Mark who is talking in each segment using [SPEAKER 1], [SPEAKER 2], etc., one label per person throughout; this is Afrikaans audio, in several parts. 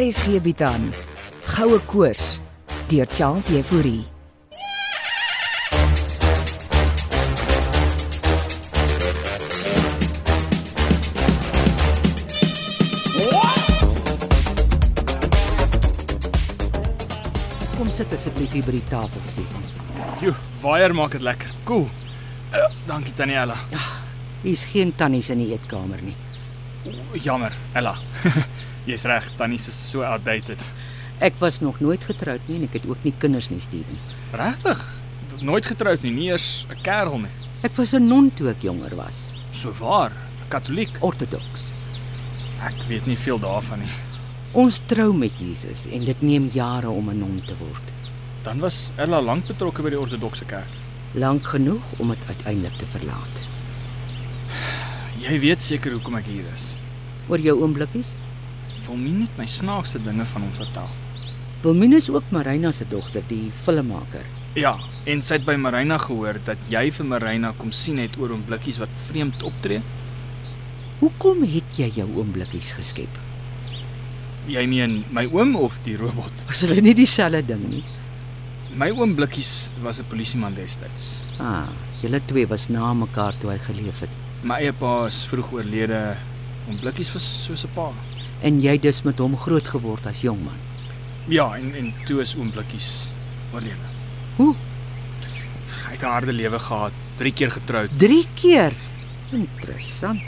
[SPEAKER 1] RSG bied aan Goue Koors deur Charles Euphorie.
[SPEAKER 2] Kom sit asseblief hier by die tafel, Stefan.
[SPEAKER 3] Jo, waier maak dit lekker. Cool. Uh, dankie tannie Ella.
[SPEAKER 2] Hier's geen tannies in die eetkamer nie.
[SPEAKER 3] O, Jammer, Ella. Jy's reg, tannies is so outdated.
[SPEAKER 2] Ek was nog nooit getroud nie en ek het ook nie kinders nie, Steven.
[SPEAKER 3] Regtig? Nooit getroud nie, nie eers 'n kerel nie.
[SPEAKER 2] Ek was 'n non toe ek jonger was,
[SPEAKER 3] So waar, Katoliek.
[SPEAKER 2] ortodoks.
[SPEAKER 3] Ek weet nie veel daarvan nie.
[SPEAKER 2] Ons trou met Jesus en dit neem jare om 'n non te word.
[SPEAKER 3] Dan was Ella lank betrokke by die ortodokse kerk.
[SPEAKER 2] Lank genoeg om dit uiteindelik te verlaat.
[SPEAKER 3] Jy weet seker hoekom ek hier is.
[SPEAKER 2] Oor jou oomblikkies?
[SPEAKER 3] Wil nie net my snaakse dinge van hom vertel.
[SPEAKER 2] Wilmien is ook Marina se dogter, die filmmaker.
[SPEAKER 3] Ja, en sy het by Marina gehoor dat jy vir Marina kom sien het oor hom blikkies wat vreemd optree.
[SPEAKER 2] Hoekom het jy jou oomblikkies geskep?
[SPEAKER 3] Jy meen my oom of die robot?
[SPEAKER 2] Was hulle nie dieselfde ding nie?
[SPEAKER 3] My oom Blikkies was 'n polisieman destyds.
[SPEAKER 2] Ah, julle twee was na mekaar toe hy geleef het.
[SPEAKER 3] My eie pa is vroeg oorlede. Oom Blikkies was soos 'n pa.
[SPEAKER 2] En jy dus met hom groot geword as jong man.
[SPEAKER 3] Ja, en en toe is oom Blikkies oorlede.
[SPEAKER 2] Hoe?
[SPEAKER 3] Hy het 'n harde lewe gehad, 3 keer getroud.
[SPEAKER 2] 3 keer. Interessant.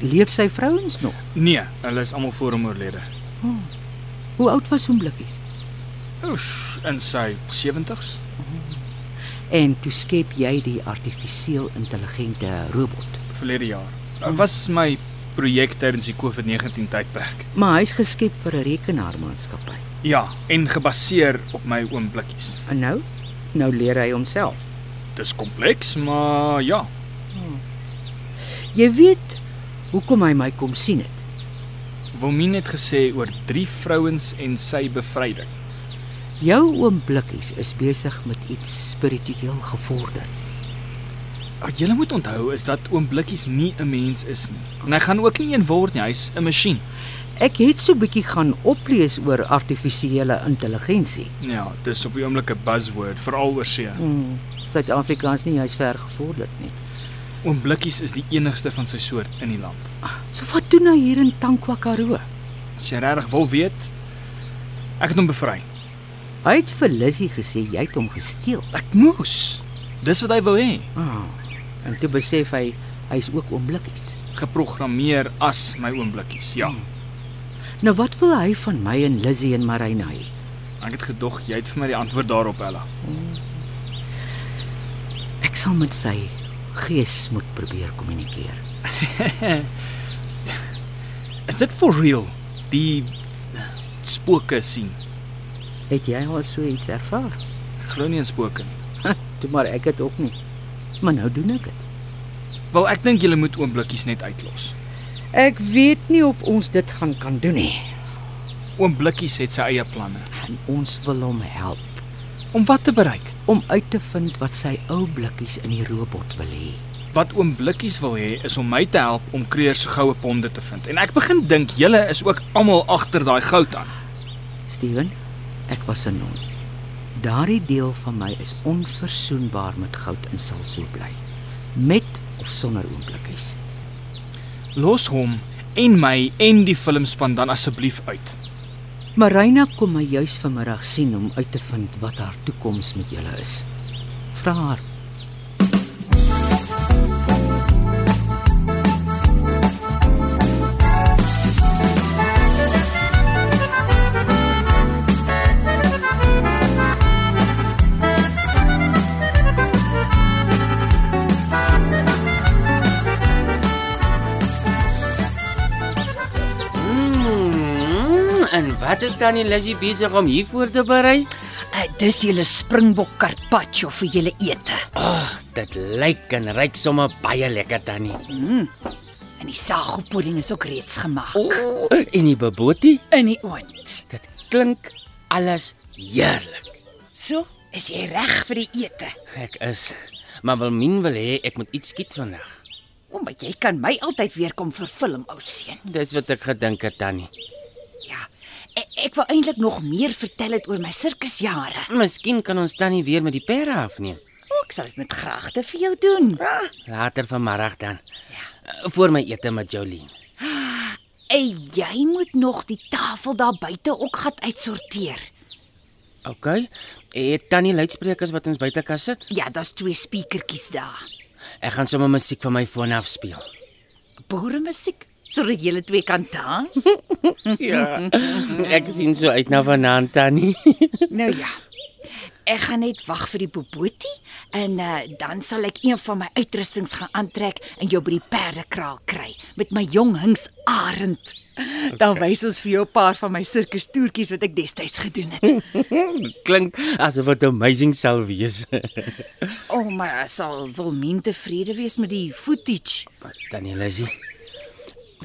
[SPEAKER 2] Leef sy vrouens nog?
[SPEAKER 3] Nee, hulle is almal voor hom oorlede.
[SPEAKER 2] Oh. Hoe oud was hom blikkies?
[SPEAKER 3] Oes, in sy 70s.
[SPEAKER 2] En toe skep jy die artifisieel intelligente robot.
[SPEAKER 3] Verlede jaar. Dit was my projek tydens die COVID-19 tydperk.
[SPEAKER 2] Maar hy's geskep vir 'n rekenaarmaatskappy.
[SPEAKER 3] Ja, en gebaseer op my oom Blikkies.
[SPEAKER 2] En nou? Nou leer hy homself.
[SPEAKER 3] Dis kompleks, maar ja,
[SPEAKER 2] Jy weet hoekom hy my kom sien het.
[SPEAKER 3] Wilmien het gesê oor drie vrouens en sy bevryding.
[SPEAKER 2] Jou oom blikkies is besig met iets spiritueel gevorder.
[SPEAKER 3] Wat jy moet onthou is dat oom Blikkies nie 'n mens is nie. En hy gaan ook nie een word nie, hy's 'n masjien.
[SPEAKER 2] Ek het so bietjie gaan oplees oor artifisiële intelligensie.
[SPEAKER 3] Ja, dis op die oomblik 'n buzzword veral oor see.
[SPEAKER 2] Hmm. Suid-Afrika is nie juis ver gevorderd nie.
[SPEAKER 3] Oom Blikkies is die enigste van sy soort in die land.
[SPEAKER 2] So wat doen hy hier in Tankwa Karoo?
[SPEAKER 3] As jy regtig wil weet, ek het hom bevry.
[SPEAKER 2] Hy het vir Lissy gesê jy het hom gesteel.
[SPEAKER 3] Ek moes. Dis wat hy wou hê.
[SPEAKER 2] Ah. En toe besef hy hy's ook oomblikkies.
[SPEAKER 3] Geprogrammeer as my oom Blikkies. Ja.
[SPEAKER 2] Nou wat wil hy van my en Lissy en Marina hê?
[SPEAKER 3] Ek het gedog jy het vir my die antwoord daarop, Ella.
[SPEAKER 2] Ek sal met sy gees moet probeer kommunikeer.
[SPEAKER 3] Is dit for real? Die spooke sien.
[SPEAKER 2] Het jy al so iets ervaar?
[SPEAKER 3] Ek Glo nie in spooke nie.
[SPEAKER 2] Toe maar ek het ook nie. Maar nou doen ek dit.
[SPEAKER 3] Wel, ek dink jy moet oom Blikkies net uitlos.
[SPEAKER 2] Ek weet nie of ons dit gaan kan doen nie.
[SPEAKER 3] Oom Blikkies het sy eie planne
[SPEAKER 2] En ons wil hom help
[SPEAKER 3] om wat te bereik.
[SPEAKER 2] om uit te vind wat sy ou blikkies in die robot wil hê.
[SPEAKER 3] Wat oom Blikkies wil hê is om my te help om Kreur se goue ponde te vind. En ek begin dink julle is ook almal agter daai goud aan.
[SPEAKER 2] Steven, ek was 'n non. Daardie deel van my is onverzoenbaar met goud en sal so bly. Met of sonder oomblikkies.
[SPEAKER 3] Los hom en my en die filmspan dan asseblief uit.
[SPEAKER 2] Marina kom my juis vanmiddag sien om uit te vind wat haar toekoms met julle is. Vra haar.
[SPEAKER 4] Mm, en wat is dan die Lizzie besig om hier voor te berei?
[SPEAKER 5] Uh, dis julle springbok carpaccio vir julle ete.
[SPEAKER 4] Ag, oh, dit lyk en ryk sommer baie lekker tannie.
[SPEAKER 5] Mm. En die sago pudding is ook reeds gemaak
[SPEAKER 4] O, oh, en die baboti,
[SPEAKER 5] in die oond.
[SPEAKER 4] dit klink alles heerlik.
[SPEAKER 5] So, is jy reg vir die ete?
[SPEAKER 4] Ek is maar wil min wil hê ek moet iets skiet vandag.
[SPEAKER 5] Omdat jy kan my altyd weer kom verfilm, ou seun.
[SPEAKER 4] Dis wat ek gedink het tannie.
[SPEAKER 5] Ja. En, Ek wou eintlik nog meer vertel het oor my sirkusjare.
[SPEAKER 4] Miskien kan ons tannie weer met die perde afneem.
[SPEAKER 5] O, ek sal dit met graagte vir jou doen.
[SPEAKER 4] Later vanmiddag dan. Ja. Voor my ete met Jolene.
[SPEAKER 5] En jy moet nog die tafel daar buite ook gat uitsorteer.
[SPEAKER 4] OK. Het tannie luidsprekers wat ons buite kan sit?
[SPEAKER 5] Ja, daar's twee speakertjies daar.
[SPEAKER 4] Ek gaan sommer musiek van my foon af speel.
[SPEAKER 5] Boere musiek sodat julle twee kan dans.
[SPEAKER 4] Ja. Ek sien so uit na vanaand tannie.
[SPEAKER 5] nou ja. Ek gaan net wag vir die bobotie en uh, dan sal ek een van my uitrustings gaan aantrek en jou by die perdekraal kry met my jong hings arend. Okay. Dan wys ons vir jou 'n paar van my sirkustoertjies wat ek destyds gedoen het.
[SPEAKER 4] Klink asof dit amazing sal wees.
[SPEAKER 5] o, oh, maar sal Wilmien tevrede wees met die footage.
[SPEAKER 4] Tannie Lizzie.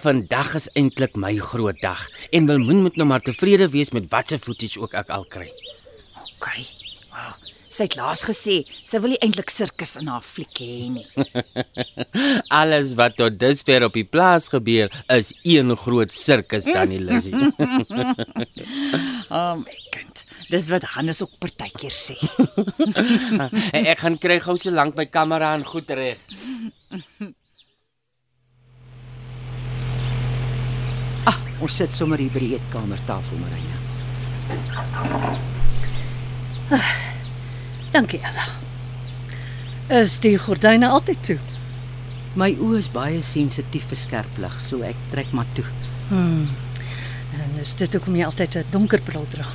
[SPEAKER 4] Vandag is eintlik my groot dag en Wilmoen moet nou maar tevrede wees met watse footage ook ek al kry.
[SPEAKER 5] OK. Wow. Sy het laas gesê sy wil nie eintlik sirkus in haar fliek hê nie.
[SPEAKER 4] Alles wat tot dusver op die plaas gebeur is een groot sirkus tannie Lizzie.
[SPEAKER 5] O, oh, my kind. Dis wat Hannes ook partykeer sê.
[SPEAKER 4] ek gaan kry gou so lank my kamera en goed reg.
[SPEAKER 2] Ah, ons sit sommer hier by die eetkamertafel, Marina.
[SPEAKER 6] Dankie Ella. Is die gordyne altyd toe?
[SPEAKER 2] My oë is baie sensitief vir skerp lig, so ek trek maar toe.
[SPEAKER 6] En is dit hoekom jy altyd 'n donker bril dra?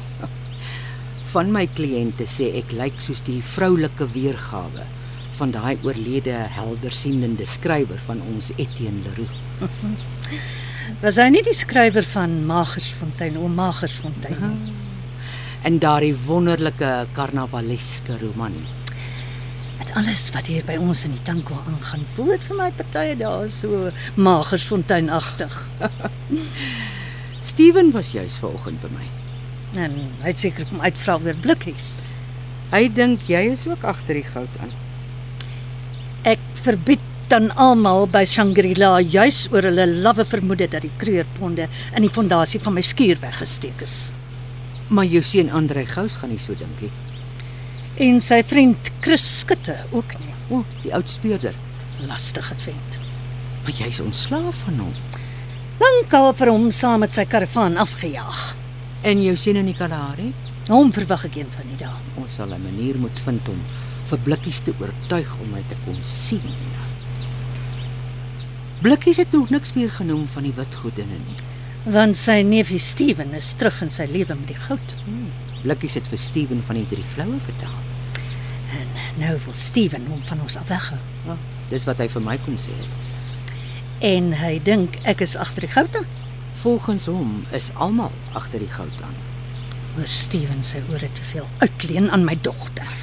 [SPEAKER 2] Van my kliënte sê ek lyk soos die vroulike weergawe van daai oorlede heldersienende skrywer van ons Etienne Leroux.
[SPEAKER 6] Was hy nie die skrywer van Magersfontein o Magersfontein nie?
[SPEAKER 2] in daardie wonderlike karnavaleske roman.
[SPEAKER 6] Met alles wat hier by ons in die Tanko aangaan, voel dit vir my partye daar so Magersfonteinagtig.
[SPEAKER 2] Steven was juis vanoggend by my.
[SPEAKER 6] En hy het seker kom uitvra oor blikkies.
[SPEAKER 2] Hy dink jy is ook agter die goud aan.
[SPEAKER 6] Ek verbied dan almal by Shangri-La juis oor hulle lawwe vermoede dat die kreurponde in die fondasie van my skuur weggesteek is.
[SPEAKER 2] Maar jou seun Andre Gous gaan nie so dink nie.
[SPEAKER 6] En sy vriend Chris Skutte ook nie.
[SPEAKER 2] O, oh, die oud speurder.
[SPEAKER 6] Lastige vent.
[SPEAKER 2] Maar jy's ontslaaf van hom.
[SPEAKER 6] Lankal vir hom saam met sy karavaan afgejaag.
[SPEAKER 2] En jou seun in die Kalahari,
[SPEAKER 6] Hom verwag ek een van die dae.
[SPEAKER 2] ons sal 'n manier moet vind om vir Blikkies te oortuig om my te kom sien. Blikkies het nog niks weer genoem van die wit godinne nie.
[SPEAKER 6] Want sy neefie Steven is terug in sy lewe met die goud.
[SPEAKER 2] Blikkies het vir Steven van die drie floue vertel.
[SPEAKER 6] En nou wil Steven hom van ons af weghou.
[SPEAKER 2] Ah, Dis wat hy vir my kom sê het.
[SPEAKER 6] En hy dink ek is agter die goud aan.
[SPEAKER 2] Volgens hom is almal agter die goud aan.
[SPEAKER 6] Hoor Steven sy ore te veel uitleen aan my dogter.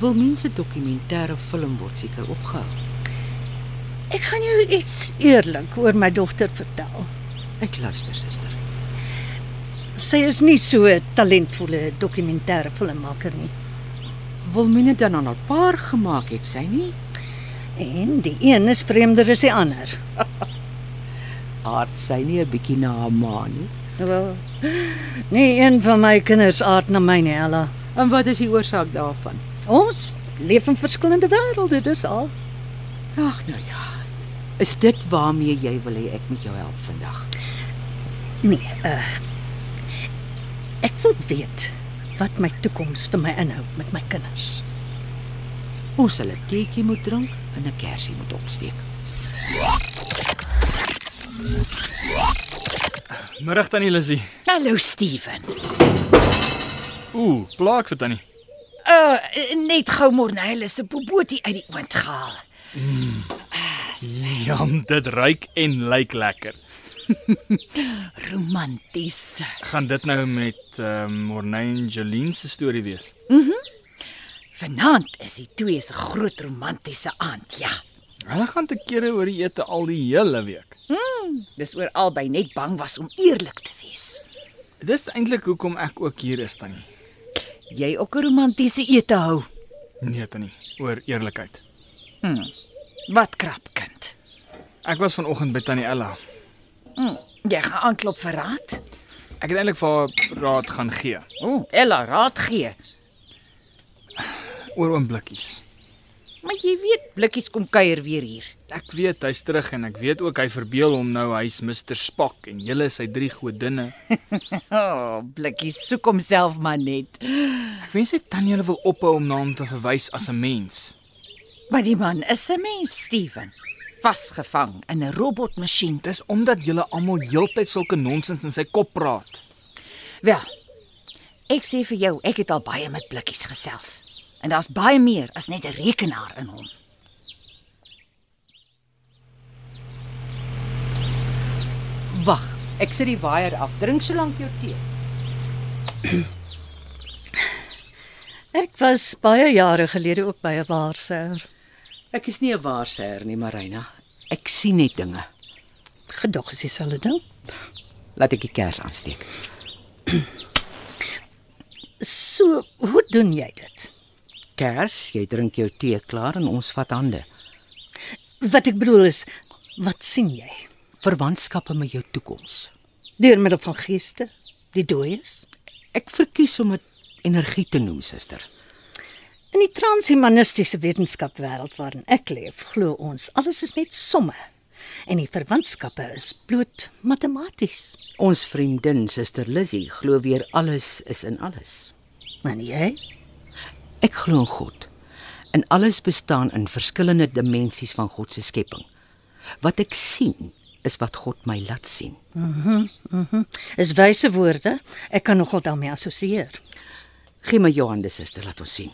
[SPEAKER 2] Wil mense dokumentêre film word seker opgehou.
[SPEAKER 6] Ek gaan jou iets eerlik oor my dogter vertel.
[SPEAKER 2] Ek luister, suster.
[SPEAKER 6] Sy is nie so 'n talentvolle dokumentêre filmmaker nie.
[SPEAKER 2] Wilmine dan aan haar paar gemaak het sy nie?
[SPEAKER 6] En die een is vreemder as die ander.
[SPEAKER 2] Aard sy nie 'n bietjie na haar ma nie.
[SPEAKER 6] Wel, nie een van my kinders aard na my nie, Ella.
[SPEAKER 2] En wat is die oorsaak daarvan?
[SPEAKER 6] Ons leef in verskillende wêrelde, dis al.
[SPEAKER 2] Ag nou ja. Is dit waarmee jy wil hê ek moet jou help vandag?
[SPEAKER 6] Nee, uh ek wil weet wat my toekoms vir my inhou met my kinders.
[SPEAKER 2] Ons sal 'n teetjie moet drink en 'n kersie moet opsteek.
[SPEAKER 3] Middag tannie Lizzie.
[SPEAKER 5] Hallo Steven.
[SPEAKER 3] Ooh, plaak vir tannie.
[SPEAKER 5] Uh net gou Mornelle se bobotie uit die oond gehaal.
[SPEAKER 3] Mm. Jam, dit ruik en lyk lekker.
[SPEAKER 5] Romanties.
[SPEAKER 3] Gaan dit nou met ehm um, Morney Jolene se storie wees?
[SPEAKER 5] Vanaand is die twee se groot romantiese aand, ja.
[SPEAKER 3] Hulle gaan te kere oor die ete al die hele week.
[SPEAKER 5] Dis oor albei net bang was om eerlik te wees.
[SPEAKER 3] Dis eintlik hoekom ek ook hier is tannie.
[SPEAKER 5] Jy ook 'n romantiese ete hou.
[SPEAKER 3] Nee tannie, oor eerlikheid.
[SPEAKER 5] Wat krap kind.
[SPEAKER 3] Ek was vanoggend by tannie Ella.
[SPEAKER 5] Jy gaan aanklop vir raad?
[SPEAKER 3] Ek het eintlik vir haar raad gaan gee
[SPEAKER 5] O, oh, Ella raad gee.
[SPEAKER 3] oor oom Blikkies.
[SPEAKER 5] Maar jy weet, blikkies kom kuier weer hier.
[SPEAKER 3] Ek weet hy's terug en ek weet ook hy verbeel hom nou hy's Mr Spak en julle is sy drie godinne.
[SPEAKER 5] O, oh, blikkies soek homself maar net.
[SPEAKER 3] Ek wens hy tannie julle wil ophou om na hom te verwys as 'n mens.
[SPEAKER 5] Maar die man is 'n mens, Steven. Vasgevang in 'n robotmasjien.
[SPEAKER 3] Dis omdat julle almal heeltyd sulke nonsens in sy kop praat.
[SPEAKER 5] Wel. Ek sê vir jou, ek het al baie met blikkies gesels. En daar's baie meer as net 'n rekenaar in hom.
[SPEAKER 7] Wag, ek sit die waier af. Drink solank jou tee.
[SPEAKER 6] Ek was baie jare gelede ook by 'n waarsêer.
[SPEAKER 2] Ek is nie 'n waarsêer nie, Marina. Ek sien net dinge.
[SPEAKER 6] Gedog is dieselfde ding.
[SPEAKER 2] Laat ek die kers aansteek.
[SPEAKER 6] So, hoe doen jy dit?
[SPEAKER 2] Kers, jy drink jou tee klaar en ons vat hande.
[SPEAKER 6] Wat ek bedoel is, wat sien jy?
[SPEAKER 2] Verwantskappe met jou toekoms.
[SPEAKER 6] Deur middel van geeste, die dooies.
[SPEAKER 2] Ek verkies om dit energie te noem, suster.
[SPEAKER 6] In die transhumanistiese wetenskapwêreld waarin ek leef, glo ons alles is net somme en die verwantskappe is bloot matematies.
[SPEAKER 2] Ons vriendin, suster Lizzy, glo weer alles is in alles.
[SPEAKER 6] Maar nee, jy,
[SPEAKER 2] Ek glo in God. En alles bestaan in verskillende dimensies van God se skepping. Wat ek sien, is wat God my laat sien.
[SPEAKER 6] is wyse woorde. Ek kan nogal daarmee assosieer.
[SPEAKER 2] Gee my jou hande, suster, laat ons sien.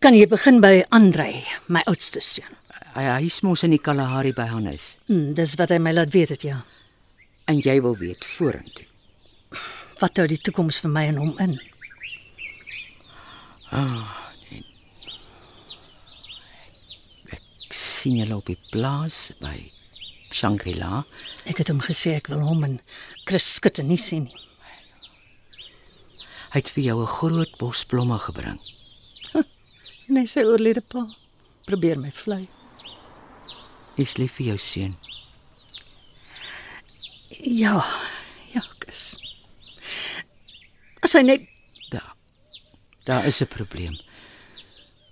[SPEAKER 6] Kan jy begin by Andrei, my oudste seun?
[SPEAKER 2] Hy hy is mos in die Kalahari by Hannes
[SPEAKER 6] Hmm, dis wat hy my laat weet het, ja.
[SPEAKER 2] en jy wil weet vorentoe.
[SPEAKER 6] Wat hou die toekoms vir my en hom in?
[SPEAKER 2] Ek sien julle op die plaas by Shangri-La.
[SPEAKER 6] Ek het hom gesê ek wil hom en Chris skutte nie sien nie.
[SPEAKER 2] Hy het vir jou 'n groot bos blomme gebring.
[SPEAKER 6] En hy sê oorlede pa, probeer my vlei.
[SPEAKER 2] Hy's lief vir jou seun.
[SPEAKER 6] Ja, ja, Chris. As hy net
[SPEAKER 2] Daar. Daar is 'n probleem.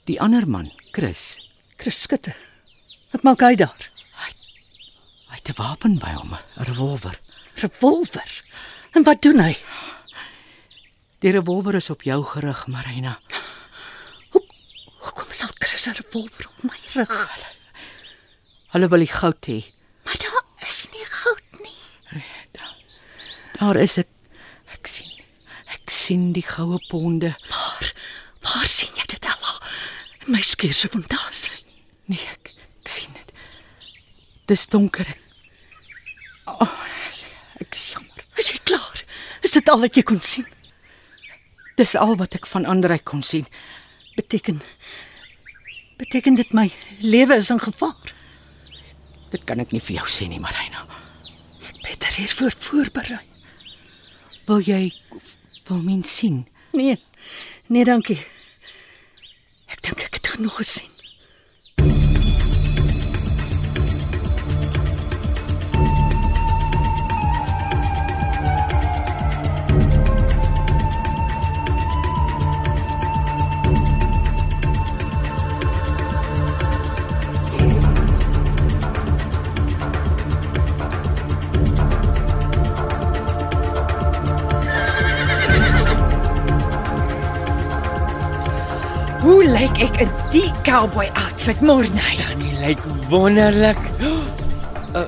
[SPEAKER 2] Die ander man, Chris,
[SPEAKER 6] Chris skutte. Wat maak hy daar?
[SPEAKER 2] hy het 'n wapen by hom, 'n revolver.
[SPEAKER 6] Revolver. En wat doen hy?
[SPEAKER 2] Die revolver is op jou gerig, Marina.
[SPEAKER 6] Hoekom sal Chris 'n revolver op my rug?
[SPEAKER 2] Hulle wil die goud hê.
[SPEAKER 6] Maar daar is nie goud nie.
[SPEAKER 2] Daar is dit. Ek sien. Ek sien die goue ponde.
[SPEAKER 6] Waar? Waar sien jy dit al? In my skuur se fondasie.
[SPEAKER 2] Nee, ek, ek sien dit. Dis donker. Ek, oh, ek is jammer.
[SPEAKER 6] Is jy klaar? Is dit al wat jy kon sien?
[SPEAKER 2] Dis al wat ek van Andrei kon sien.
[SPEAKER 6] Beteken beteken dit my lewe is in gevaar.
[SPEAKER 2] Dit kan ek nie vir jou sê nie, Marina.
[SPEAKER 6] Ek beter hiervoor voorberei.
[SPEAKER 2] Wil jy wil mens sien?
[SPEAKER 6] Nee. Nee, dankie. Ek dink ek het genoeg gesien.
[SPEAKER 5] Hoe lyk ek in die cowboy outfit môre nag?
[SPEAKER 4] Jy lyk wonderlik. Uh,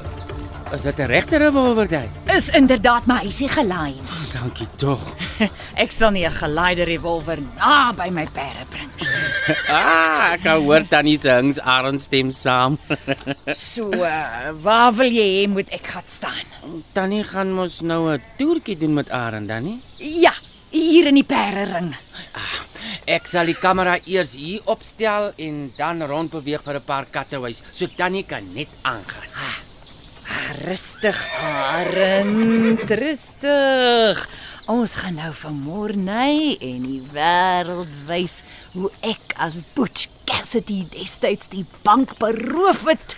[SPEAKER 4] is dit 'n regte revolver daai?
[SPEAKER 5] Is inderdaad my huisie gelaai.
[SPEAKER 4] Dankie tog.
[SPEAKER 5] Ek sal nie 'n gelaaide revolver na by my perde bring nie.
[SPEAKER 4] Ah, ek kan hoor tannie se hings arend stem saam.
[SPEAKER 5] So, uh, waar wil jy hê moet ek gaan staan?
[SPEAKER 4] Tannie gaan mos nou 'n toertjie doen met Arend dan nie?
[SPEAKER 5] Ja, hier in die perdering.
[SPEAKER 4] Ek sal die kamera eers hier opstel en dan rondbeweeg vir 'n paar kattehuis, so tannie kan net aangaan.
[SPEAKER 5] Rustig, Arend, rustig. Ons gaan nou van Morney en die wêreld wys hoe ek as Butch Cassidy destyds die bank beroof het.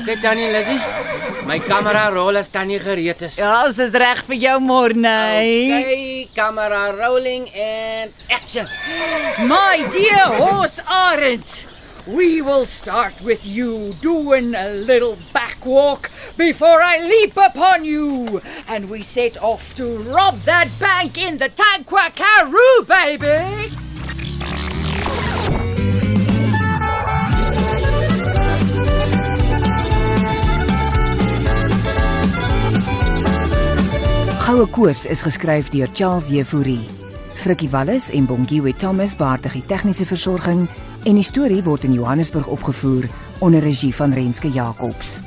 [SPEAKER 4] Okay tannie Lizzy, My kamera rol as tannie gereed is.
[SPEAKER 6] Ja, ons is reg vir jou môre.
[SPEAKER 4] Okay, kamera rolling and action.
[SPEAKER 6] My dear horse Arend, we will start with you doing a little back walk before I leap upon you. And we set off to rob that bank in the Tanqua Karoo, baby.
[SPEAKER 1] Goue Koors is geskryf deur Charles Jefouri. Frikkie Wallis en Bongiwe Thomas baartig die tegniese versorging en die storie word in Johannesburg opgevoer onder regie van Renske Jacobs.